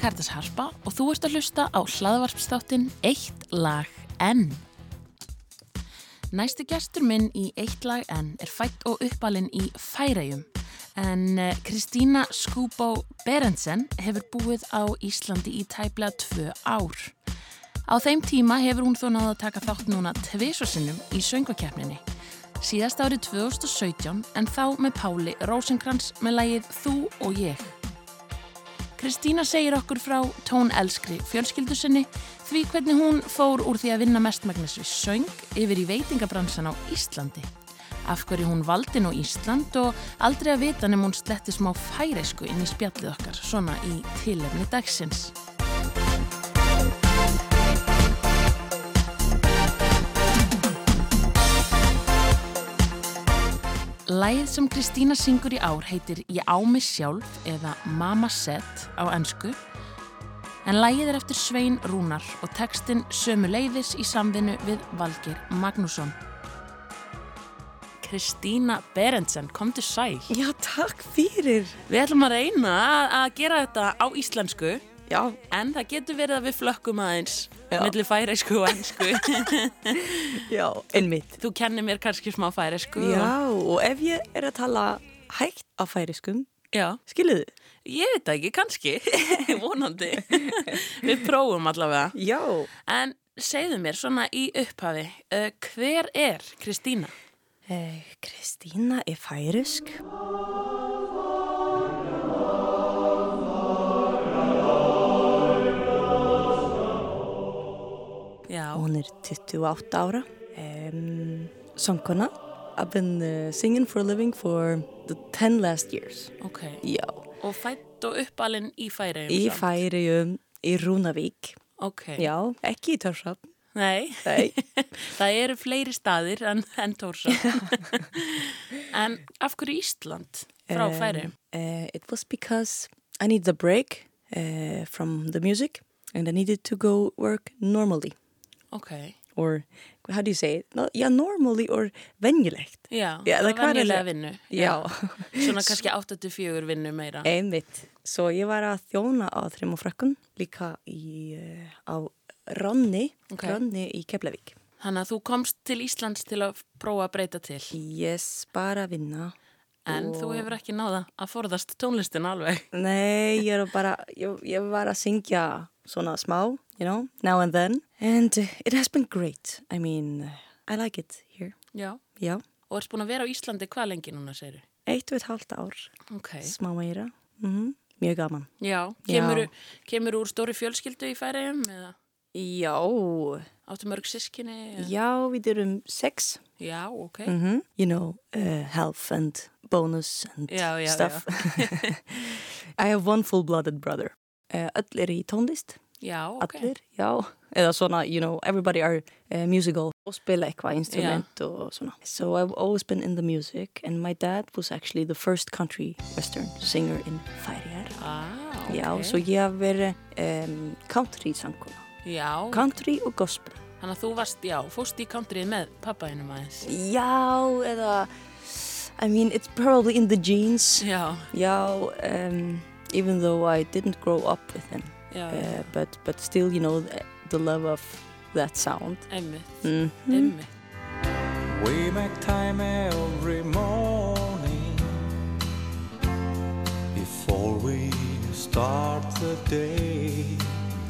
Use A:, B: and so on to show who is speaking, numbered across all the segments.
A: Karitas Harpa og þú ert að hlusta á hlaðvarpstáttin Eitt lag enn. Næsti gestur minn í Eitt lag enn er fætt og uppalinn í Færeyjum en eh, Kristína Skúbó Berendsen hefur búið á Íslandi í tæplega tvö ár. Á þeim tíma hefur hún þó náða að taka þátt núna tvisursinnum í söngvakeppninni. Síðast árið 2017 en þá með Páli Rósenkrans með lægið Þú og ég. Kristína segir okkur frá tónelskri fjölskyldu sinni því hvernig hún fór úr því að vinna mestmagnis við söng yfir í veitingabransan á Íslandi. Af hverju hún valdi nú Ísland og aldrei að vita nefn hún sletti smá færeisku inn í spjallið okkar, svona í tilefni dagsins. Læð sem Kristína syngur í ár heitir Ég á mig sjálf eða Mama Set á ennsku en lægið er eftir Svein Rúnar og textin sömu leiðis í samvinnu við Valgir Magnússon. Kristína Berendsen, komdu sæl.
B: Já, takk fyrir.
A: Við ætlum að reyna að- að gera þetta á íslensku
B: Já,
A: en það getur verið að við flökkum aðeins
B: Já.
A: millir færeisku og ennsku.
B: já, einmitt.
A: Þú kennir mér kannski smá færeisku. og-
B: Já, og ef ég er að tala hægt á færiskum,
A: Já.
B: skiljiðu?
A: Ég veit það ekki, kannski, vonandi. Við prófum allavega.
B: Já.
A: En segðu mér svona í upphafi, uh, hver er Kristína?
B: Eh, Kristína er færisk.
A: Já.
B: Hún er 28 ára. Um, Songkona. I've been uh, singing for a living for the 10 last years.
A: Ok.
B: Já.
A: Og fætt og uppalinn í færi?
B: Í færium, í Rúnavík.
A: Ok.
B: Já, ekki í Törsafn.
A: Nei,
B: Nei.
A: það eru fleiri staðir en, en Tórsa. en af hverju Ísland frá
B: Um,
A: færi?
B: Uh, it was because I needed a break uh, from the music and I needed to go work normally.
A: Ok.
B: Or how do you say it? No, yeah, normally or venjulegt.
A: Já, það
B: Já, það
A: var
B: hvað er
A: venjulega
B: það?
A: vinnu.
B: Já,
A: Svona kannski 84 vinnu meira.
B: einmitt. Svo ég var að þjóna á þreim og frökkun líka í, uh, á Ronni,
A: Ok.
B: Ronni í Keflavík.
A: Þannig að þú komst til Íslands til að prófa að breyta til.
B: Yes, bara að vinna.
A: En þú hefur ekki náða að forðast tónlistin alveg.
B: Nei, ég, er bara, ég, ég var að syngja svona smá, you know, now and then. And uh, it has been great. I mean, uh, I like it here.
A: Já.
B: Já,
A: Og ert búin að vera á Íslandi hvað lengi núna, segir þú?
B: eitt og eitt hálft ár,
A: Ok.
B: smá meira. Mm Mjög gaman.
A: Já. Kemur, kemur úr stóri fjölskyldu í færiðum eða
B: Já,
A: áttu mörg sískinni? eða-
B: já, við erum sex.
A: Já, ok.
B: Mm You know, uh, health and bonus and
A: Já, já,
B: stuff. I have one full-blooded brother. Uh, öll er í tónlist.
A: Já, ok.
B: allir, já eða svona, you know, everybody are uh, musical og spila eitthvað instrument og svona So I've always been in the music and my dad was actually the first country western singer in Færjar
A: Ah, ok.
B: Já, svo ég haf verið um, country sangkona
A: Já,
B: country og gospel
A: þannig að þú varst, já, fóst í countrið með pappaðinum aðeins.
B: Já, eða I mean, it's probably in the genes
A: Já,
B: Já, um, even though I didn't grow up with him
A: já,
B: uh, but, but still, you know, the, the love of that sound
A: einmitt,
B: mm.
A: einmitt.
C: We make time every morning before we start the day.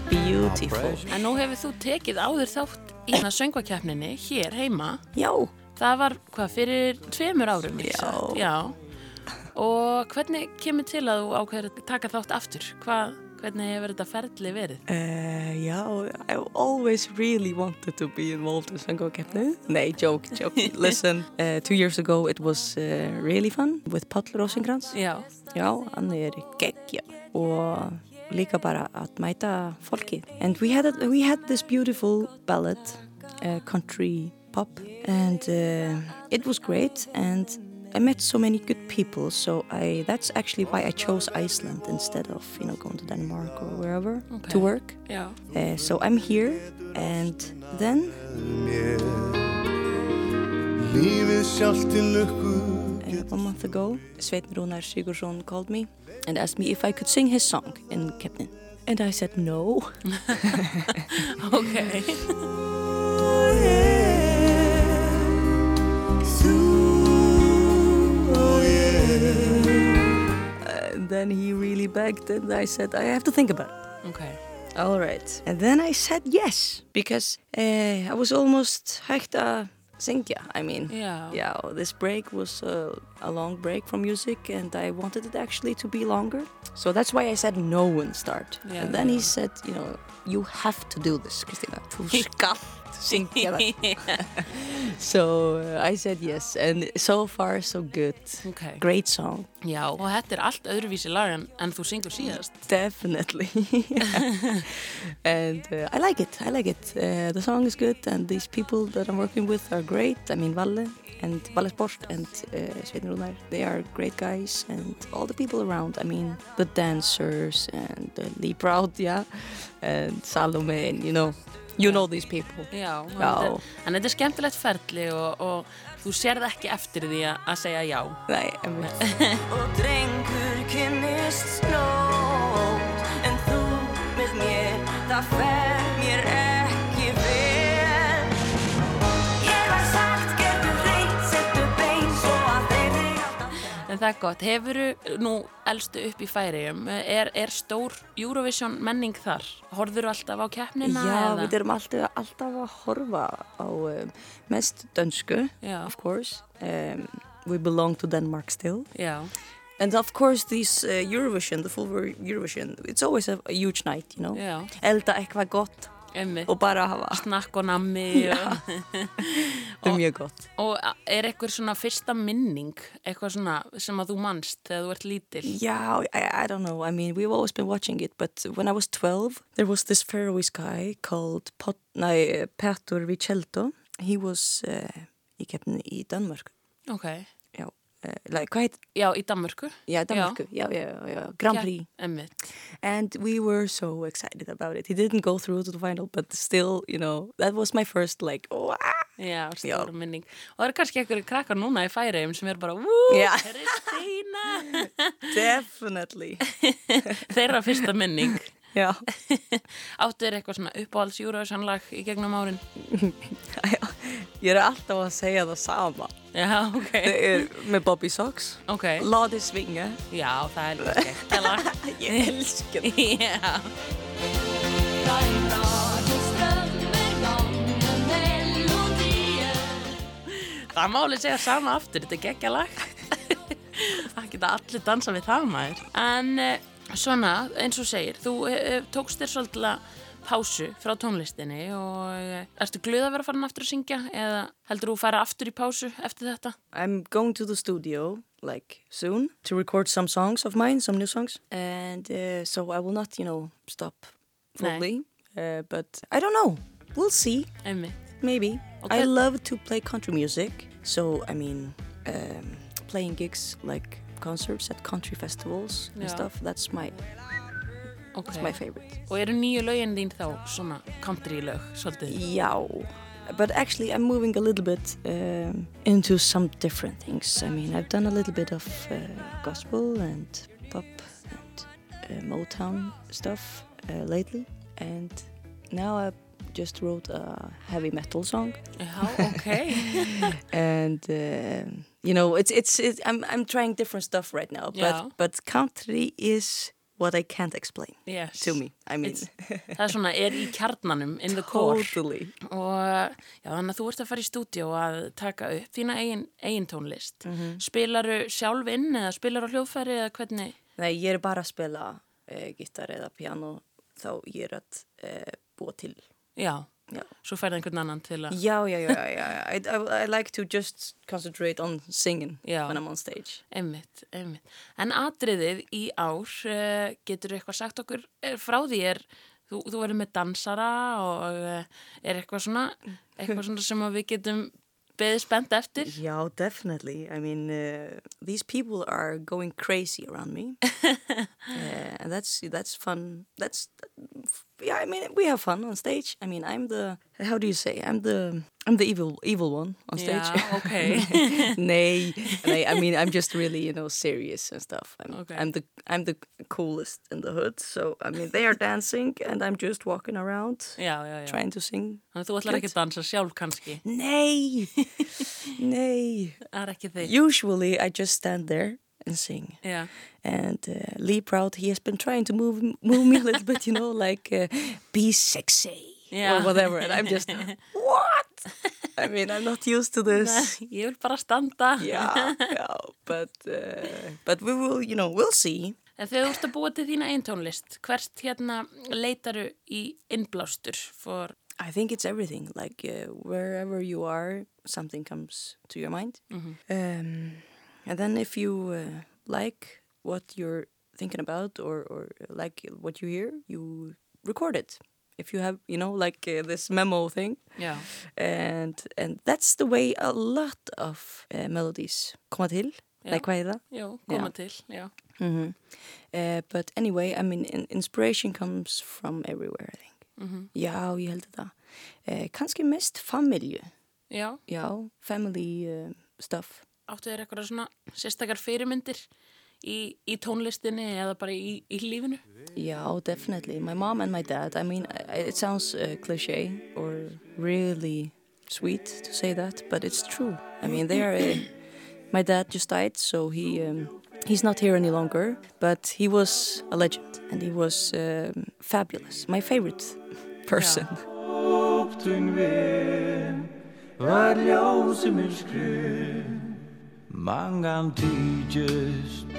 B: Beautiful
A: En nú hefur þú tekið áður þátt í það söngvakeppninni hér heima.
B: Já,
A: Það var, hvað, fyrir tveimur árum? ekki
B: Já.
A: satt? Já. Og hvernig kemur til að þú ákveður að taka þátt aftur? Hvað, hvernig hefur þetta ferli verið?
B: Uh, já, I've always really wanted to be involved in Sango Captain. Nay, joke, joke. Listen, uh, two years ago it was uh, really fun with Páll Rosengrans.
A: Já,
B: Já, hann er geggja og líka bara að mæta fólki. And we had, a, we had this beautiful ballad, uh, country pop, and uh, it was great and I met so many good people, so I that's actually why I chose Iceland instead of you know going to Denmark or wherever
A: Okay.
B: to work.
A: já,
B: Uh, so I'm here, and then
C: Mér. Lífið sjálft til lukku
B: uh, one month ago, Sveinn Rúnar Sigurðsson called me and asked me if I could sing his song in Kepnin. And I said no.
A: ok.
B: And then he really begged, and I said, I have to think about it.
A: Ok.
B: All right. And then I said yes, because uh, I was almost hægt að syngja. I mean,
A: Já.
B: yeah, oh, this break was uh, a long break from music, and I wanted it actually to be longer. So that's why I said no and start.
A: Yeah.
B: and then he said, you know, you have to do this, Christina. Þú skalt syngja það. so uh, I said yes, and so far so good.
A: Ok.
B: Great song.
A: Já, og þetta er allt öðruvísi lag en, en þú syngur síðast.
B: Definitely. and uh, I like it. I like it. Uh, the song is good, and these people that I'm working with are great. I mean, Valle and Valle Sport and uh, Sveinn Rúnar, they are great guys, and all the people around. I mean, the dancers and uh, Lee Proud, yeah, and Salome, and you know, you know these people.
A: Já. og
B: Já.
A: þetta er- En þetta er skemmtilegt ferli og, og þú sérð ekki eftir því að að segja já.
B: Nei, emmi.
D: Og drengur kynnist snót En þú með mér, það fer mér ekki vel Ég var sagt, getur reynt, settu bein Svo að þeirri alltaf
A: En það er gott. Hefuru nú elstu upp í færiðum? Er, er stór Eurovision menning þar? Horður alltaf á keppnina?
B: Já,
A: eða?
B: við erum alltaf, alltaf að horfa á um, mest dönsku,
A: Já.
B: of course. Um, we belong to Denmark still.
A: Já,
B: And of course this uh, Eurovision, the full ver- Eurovision, it's always a, a huge night, you know.
A: Já.
B: Elda eitthvað gott
A: emmi.
B: og bara hafa,
A: Snakk og nammi. Og,
B: það er mjög gott.
A: og er eitthvað svona fyrsta minning, eitthvað svona sem að þú manst þegar þú ert lítil?
B: Yeah, I, I don't know. I mean, we've always been watching it, but when I was 12, there was this Faroe guy called Pot, nei, uh, Petur Vicelto. He was uh, í keppni í Danmörku.
A: Ok.
B: Já, uh, like, hvað heit
A: Já, í Danmörku.
B: Yeah, Danmarku. Yeah, yeah, yeah. Grand Prix.
A: Emmitt.
B: And we were so excited about it. He didn't go through to the final, but still, you know, that was my first like, wow.
A: Já, stóra minning. Og það eru kannski einhverju krakkar núna í færiðum sem eru bara, vú,
B: Já.
A: Kristína.
B: Definitely.
A: Þeirra fyrsta minning.
B: yeah.
A: Áttu þér eitthvað svona uppáhalds Eurovision lag í gegnum árin?
B: Ég er alltaf að segja það sama.
A: Já, ok.
B: Það er með Bobby Socks.
A: Ok.
B: Láði svinga.
A: Já, það er líka skemmtilega.
B: Ég elska það.
A: Já. Það má alveg segja sama aftur, þetta er geggja lag. það geta allir dansa við það maður. En eh, svona, eins og þú segir, þú eh, tókst þér svolítið pásu frá tónlistinni og eh, ertu glöð að vera farin aftur að syngja eða heldur þú að fara aftur í pásu eftir þetta?
B: I'm going to the studio like soon to record some songs of mine, some new songs, and uh, so I will not, you know, stop
A: Nei.
B: fully. Uh, but I don't know. We'll see.
A: Einmitt.
B: Maybe.
A: Okay.
B: I love to play country music, so I mean, um, playing gigs like concerts at country festivals and
A: Yeah.
B: stuff. That's my
A: Ok.
B: my favorite.
A: Og eru nýju lögin þín þá svona country lög, svolítið?
B: Yeah. But actually, I'm moving a little bit um, into some different things. I mean, I've done a little bit of uh, gospel and pop and uh, Motown stuff uh, lately, and now I just wrote a heavy metal song.
A: Já, ok.
B: and um you know it's it's it's I'm I'm trying different stuff right now but
A: Yeah.
B: but country is what I can't explain
A: Yes.
B: to me I mean
A: It's Það er svona, er í kjarnanum, in the core.
B: totally
A: Og já, þannig að þú ert að fara í stúdíó að taka upp þína eigin, eigin tónlist. Mm -hmm. Spilaru sjálf inn eða spilaru á hljóðfæri eða hvernig?
B: Nei, ég er bara að spila uh, gítar eða piano þá ég er að uh, búa til
A: Já,
B: já
A: svo færði einhvern annan til að...
B: Já, já, já, já, já. I, I, I like to just concentrate on singing
A: Já.
B: when I'm on stage.
A: Einmitt, einmitt. En atriðið í ár, eh, getur eitthvað sagt okkur eh, frá því er, þú, þú verður með dansara og eh, er eitthvað svona, eitthvað svona sem að við getum beðið spennt eftir?
B: Yeah, definitely. I mean, uh, these people are going Eh, crazy around me, uh, and that's that's fun. That's yeah, I mean, we have fun on stage. I mean, I'm the how do you say? I'm the I'm the evil evil one on stage.
A: Yeah, okay.
B: nay, nay. I mean, I'm just really you know serious and stuff. I'm,
A: Okay.
B: I'm the I'm the coolest in the hood. So I mean, they are dancing and I'm just walking around
A: já, já, já.
B: trying to sing.
A: Þannig að þú ætlar ekki að dansa sjálf kannski.
B: Nay, nay.
A: Það er ekki þig.
B: Usually, I just stand there and sing.
A: Já,
B: And uh, Lee Proud, he has been trying to move move me a little bit, you know, like uh, be sexy
A: Yeah.
B: or whatever. And I'm just what? I mean, I'm not used to this.
A: ég vil bara standa.
B: yeah, yeah, but uh, but we will, you know, we'll see.
A: En þegar þú ert að búa til þína einn tónlist, hvert hérna leitaru í innblástur? For,
B: I think it's everything. Like uh, wherever you are, something comes to your mind. Um, and then if you uh, like what you're thinking about or, or like what you hear, you record it. If you have, you know, like uh, this memo thing,
A: já,
B: and and that's the way a lot of uh, melodies koma til. Like hvað er það?
A: já, koma
B: Já.
A: til, já.
B: Uh, but anyway, I mean, in, inspiration comes from everywhere, I think.
A: Mhm.
B: Já, ég held það. Uh, kannski mest familju.
A: Já,
B: Já, family uh, stuff.
A: áttu þér eitthvað svona sérstakar fyrirmyndir í, í tónlistinni eða bara í, í lífinu?
B: Já, definitely. My mom and my dad, I mean, I- I- it sounds uh, cliche or really sweet to say that, but it's true. I mean, they are... Uh, my dad just died, so he um, he's not here any longer, but he was a legend and he was um, fabulous. My favorite person.
C: Óttun vin var ljósið minn skrin Mangan tíðist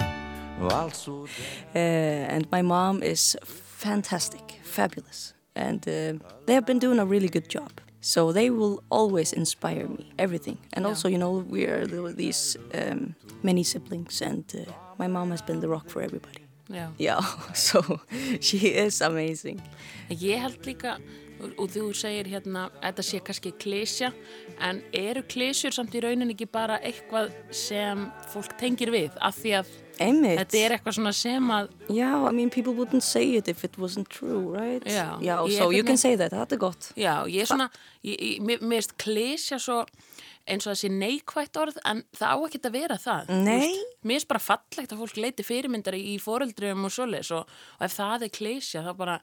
C: og allt svo
B: uh, and my mom is fantastic, fabulous, and uh, they have been doing a really good job. So they will always inspire me, everything. And also, you know, we are the- these um, many siblings, and uh, my mom has been the rock for everybody.
A: Já.
B: Yeah, so she is amazing.
A: Ég held líka, og, og þú segir hérna, að þetta sé kannski klísja, en eru klísjur samt í rauninni ekki bara eitthvað sem fólk tengir við? Af því að
B: Emmett.
A: þetta er eitthvað svona sem að,
B: Yeah, I mean, people wouldn't say it if it wasn't true, right?
A: Yeah.
B: Yeah,
A: Yeah,
B: so you
A: but
B: can
A: no-
B: say that. Þetta er gott.
A: já, ég er svona, ég, ég, mér mér finnst klísja svo eins og þessi neikvætt orð, en það á ekki að vera það. þú
B: Nei.
A: veist. Mér finnst bara fallegt að fólk leiti fyrirmyndar í, í foreldrum og svoleiðis og, og ef það er klísja þá bara,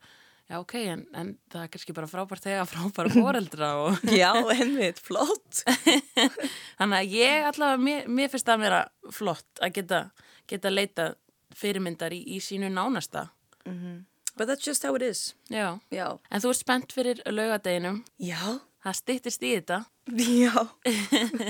A: já ok, en, en það er kannski bara frábært þegar frábæra foreldra og...
B: Já, Emmett, flott.
A: Þannig að ég allavega, mér, mér finnst það að vera flott að geta, geta leita fyrirmyndar í, í sínu nánasta.
B: But that's just how it is.
A: Já.
B: Já.
A: En þú ert spennt fyrir laugadeginum.
B: Já.
A: Það styttist í þetta.
B: Yeah.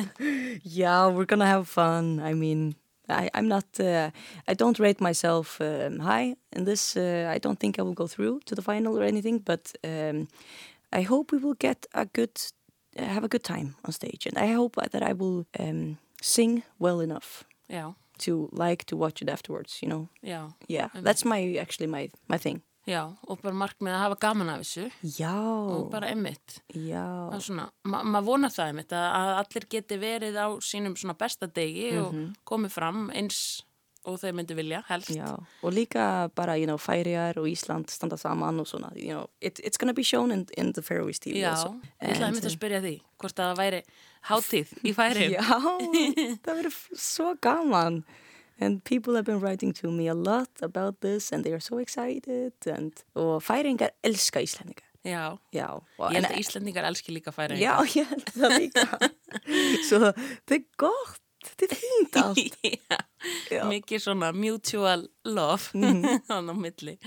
B: yeah, we're gonna have fun. I mean, I, I'm not. Uh, I don't rate myself um, high in this. Uh, I don't think I will go through to the final or anything. But um, I hope we will get a good, uh, have a good time on stage, and I hope that I will um, sing well enough
A: Já,
B: to like to watch it afterwards. You know.
A: já,
B: Yeah, that's my actually my my thing.
A: já. Og bara markmið að hafa gaman af þessu.
B: Já,
A: Og bara emmitt.
B: já,
A: Það er svona, ma maður vonar það einmitt að, að allir geti verið á sínum svona besta degi og komið fram eins og þau myndi vilja, helst.
B: Mhm. Já, og líka bara, you know, Færeyjar og Ísland standa saman og svona, you know, it, it's gonna be shown in, in the Faroese TV
A: Já,
B: also.
A: ég ætlaði
B: And,
A: einmitt að spyrja því hvort að það væri hátíð í færi.
B: Já, það verður f- svo gaman. And people have been writing to me a lot about this and they are so excited. And, og Færeyingar elska Íslandingar.
A: Já,
B: Já. og-
A: Ég held
B: en-
A: að Íslandingar elski líka færa
B: Já, ég held það líka. svo það er gott, þetta er fínt allt. Já. Mhm.
A: Mikið svona mutual love þann á milli.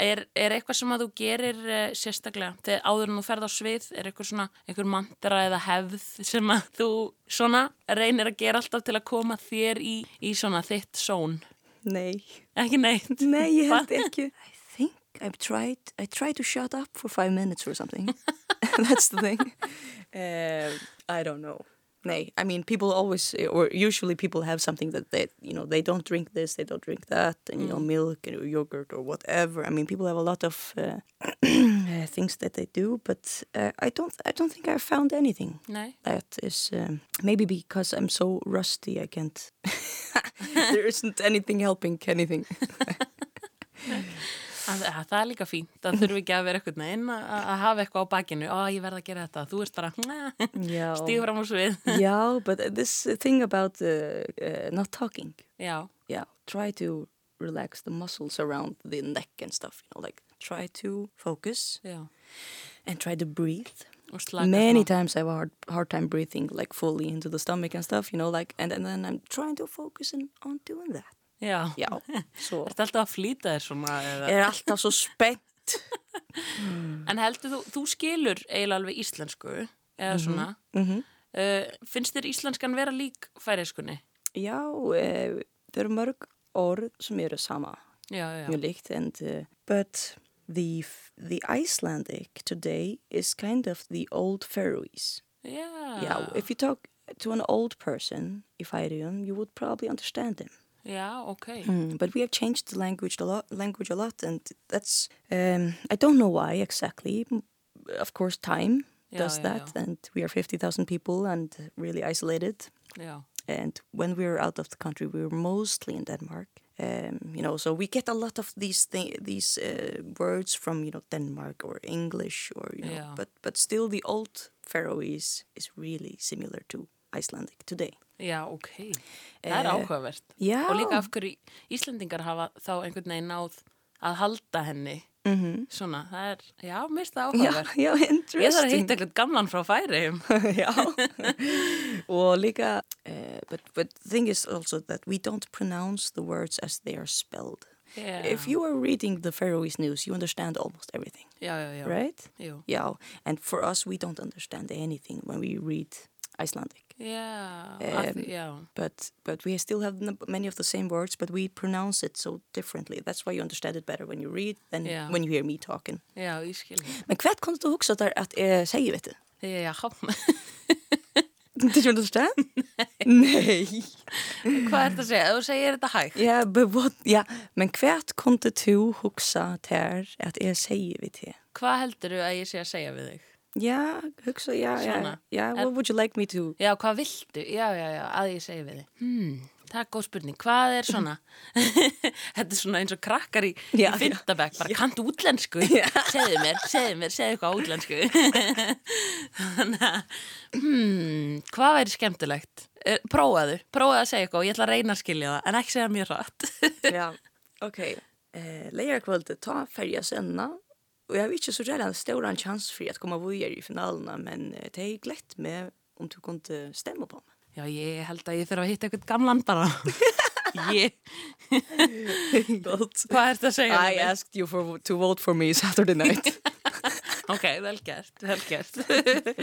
A: er, er eitthvað sem að þú gerir uh, sérstaklega, þegar áður en þú ferð á svið, er eitthvað svona, einhver mantra eða hefð sem að þú svona reynir að gera alltaf til að koma þér í, í svona þitt són?
B: Nei.
A: Ekki neitt.
B: Nei, ég held
A: Hva?
B: ekki. I think I've tried, I tried to shut up for five minutes or something. That's the thing. Uh, I don't know. Nay, I mean, people always, uh, or usually people have something that they, you know, they don't drink this, they don't drink that, and, you know, milk and yogurt or whatever. I mean, people have a lot of uh, uh, things that they do, but uh, I don't, I don't think I found anything
A: Nei.
B: that is um, maybe because I'm so rusty, I can't. there isn't anything helping anything.
A: Þannig að, að, það er líka fínt, það þurfi ekki að vera eitthvað neinn að, að hafa eitthvað á bakinu á ég verð að gera þetta, þú ert bara
B: Já.
A: stíð fram úr svið
B: yeah, but this thing about uh, uh, not talking,
A: já,
B: yeah, try to relax the muscles around the neck and stuff, you know, like try to focus
A: já,
B: and try to breathe.
A: og slaka
B: Many
A: smá.
B: times I have a hard, hard time breathing, like fully into the stomach and stuff, you know, like, and, and then I'm trying to focus in, on doing that.
A: já,
B: Já,
A: já.
B: svo
A: Ertu alltaf að flýta þér svona eða?
B: er alltaf svo spennt.
A: en heldur þú, þú skilur eiginlega alveg íslensku eða svona
B: Mhm.
A: uh, finnst þér íslenskan vera lík færiðskunni?
B: Já, uh, það eru mörg orð sem eru sama,
A: Já, já,
B: mjög líkt, and, uh, but the, f- the Icelandic today is kind of the old Faroese.
A: já,
B: Yeah,
A: Ah.
B: if you talk to an old person, if I do, you would probably understand them.
A: já, ok
B: Mm, but we have changed the language a lot, language a lot, and that's um, I don't know why exactly. M- Of course, time
A: Yeah,
B: does
A: yeah,
B: that, and we are fifty thousand people and really isolated.
A: já,
B: And when we were out of the country, we were mostly in Denmark. Um, you know, so we get a lot of these thi- these uh, words from you know Denmark or English or you know,
A: Yeah.
B: but but still the old Faroese is really similar to Icelandic today.
A: já, ok það er
B: Eh,
A: áhugavert
B: já.
A: og líka af hverju Íslendingar hafa þá einhvern veginn náð að halda henni
B: Mhm.
A: -hmm. svona, það er, já, mér finnst það
B: Yeah,
A: áhugavert
B: yeah, interesting.
A: ég þarf að hitta eitthvað gamlan frá færiðum
B: Já, og líka, uh, but, but the thing is also that we don't pronounce the words as they are spelled.
A: já,
B: If you are reading the Faroese news, you understand almost everything,
A: já, já, já.
B: right?
A: Jú.
B: Yeah, and for us, we don't understand anything when we read Icelandic.
A: Já, að,
B: Um,
A: já,
B: But, but we still have n- many of the same words, but we pronounce it so differently. That's why you understand it better when you read than
A: Yeah.
B: when you hear me talking.
A: já, ég skil ég.
B: Men hvert komst þú að hugsa þar að uh, segja við þetta?
A: Já,
B: Did you understand? Nei.
A: hvað er þetta að segja? Ef Þú segir þetta hægt.
B: Já, but what, já, men hvert kom det þú hugsa þér að ég segi við þér?
A: Hvað heldur þú að ég sé að segja við þig?
B: Já, hugsa, já, já,
A: Svona.
B: já, what would you like me to?
A: Já, hvað viltu? Já, já, já, að ég segja við þig. Hmm, það er góð spurning. Hvað er svona? þetta er svona eins og krakkar í, í
B: Já, já.
A: fyndabæk. Bara kanntu útlensku? segðu mér, segðu mér, segðu eitthvað á útlensku. Þannig að, hmm, hvað væri skemmtilegt? Eh, Prófaðu, prófaðu að segja eitthvað og ég ætla að reyna að skilja það, en ekki segja mjög rætt.
B: Já, ok. Uh, Leirkvöldi, ta färja senna. Og jeg har ikke så redan stor en chans for at komme videre i finalerna, men uh, det er glett med om du kunne stemme på meg.
A: Já, ég held að ég þurfa að hitta eitthvað gamlan bara. ég,
B: But
A: hvað ertu að segja?
B: I asked you for, to vote for me Saturday night.
A: Ok, vel gert, vel gert.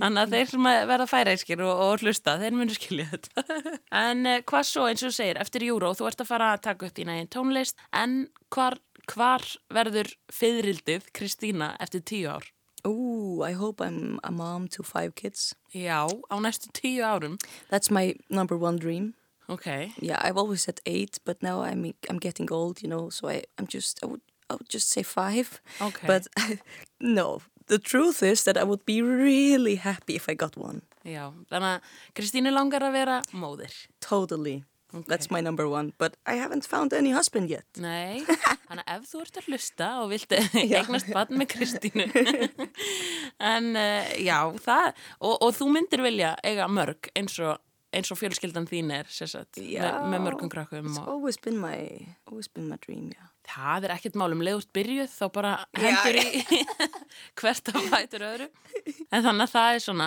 A: Þannig að þeir sem að verða færeiskir og, og hlusta, þeir munu skilja þetta. en eh, hvað svo, eins og þú segir, eftir júró, þú ert að fara að taka upp þína einn tónlist, en hvar, hvar verður fyririldið Kristína eftir tíu ár?
B: Ooh, I hope I'm a mom to five kids.
A: Já, á næstu tíu árum.
B: That's my number one dream.
A: Ok,
B: yeah i've always said eight but now i'm i'm getting old you know so i i'm just i would i would just say five
A: Okay.
B: but no the truth is that i would be really happy if i got one
A: já, þannig að Kristínu langar að vera móðir.
B: totally that's my number one but i haven't found any husband yet
A: Nei, þannig að ef þú ert að hlusta og vilt eignast barn með Kristínu en uh, já, það og, og þú myndir vilja eiga mörg eins og, eins og fjölskyldan þín er sérsagt, með, með mörgum krakkum
B: it's
A: og
B: always been my always been my dream yeah
A: það er ekkert Um málum leiðust byrjuð þá bara hendur í hvert að fætur öðru en þannig að það er svona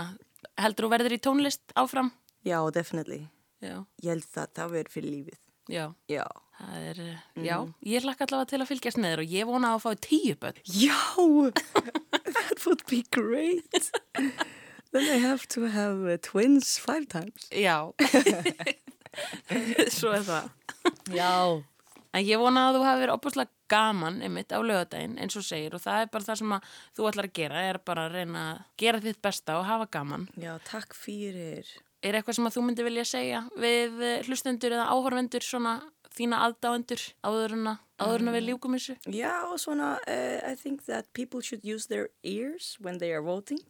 A: heldur þú verður í tónlist áfram?
B: yeah oh, definitely
A: Já,
B: ég held að það verður fyrir lífið
A: já
B: já
A: Það er, eh, já, ég hlakka allavega til að fylgjast með þér og ég vona að fá tíu börn.
B: já that would be great then i have to have uh, twins five times
A: Já Svo er það
B: já
A: En ég vona að þú hafi verið opaslega gaman einmitt á lögadaginn eins og þú segir og það er bara það sem að þú ætlar að gera er bara að reyna að gera þitt besta og hafa gaman
B: Já, takk fyrir.
A: Er eitthvað sem að þú myndi vilja segja við eh, hlustendur eða áhorfendur svona þína aðdáendur áður en að áður en að við ljúkum þessu
B: Já, svona, uh, I think that people should use their ears when they are voting.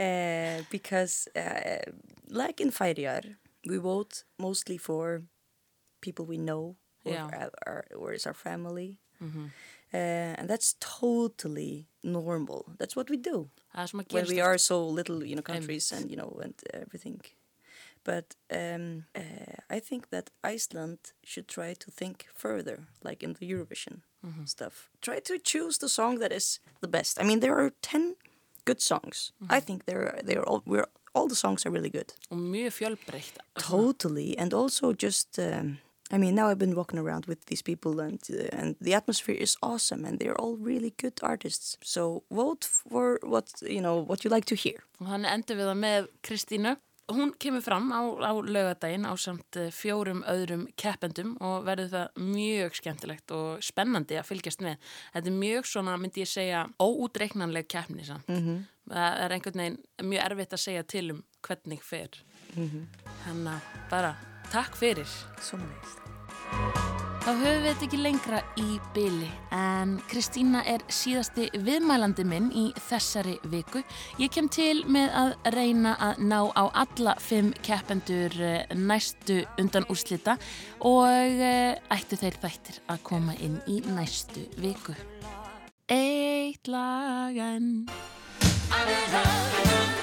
B: uh, because, uh, like in Færjar, we vote mostly for people we know or,
A: Yeah.
B: our, or is our family. Uh, and that's totally normal. That's what we do
A: Það er svona
B: when
A: gerist
B: we are so little, you know,
A: Einmitt.
B: countries and you know and everything. But um, uh, I think that Iceland should try to think further, like in the Eurovision stuff. Try to choose the song that is the best. I mean, there are ten good songs. I think there are. They are all. We're all the songs are really good.
A: og mjög fjölbreytt
B: Totally, and also just. Um, I mean, now I've been walking around with these people, and uh, and the atmosphere is awesome, and they're all really good artists. So vote for what you know what you like to hear.
A: og hann endur við það með Kristínu. Hún kemur fram á, á lögadaginn á samt eh, fjórum öðrum keppendum og verður það mjög skemmtilegt og spennandi að fylgjast með. Þetta er mjög svona, myndi ég segja, óútreiknanleg keppni samt. Það er einhvern veginn mjög erfitt að segja til um hvernig fer. Þannig að bara takk fyrir.
B: Sommerlist.
A: Þá höfum við þetta ekki lengra í byli en Kristína er síðasti viðmælandi minn í þessari viku. Ég kem til með að reyna að ná á alla fimm keppendur eh, næstu undan úrslita og eh, ættu þeir þættir að koma inn í næstu viku. Eitt lagan
D: I'm in love.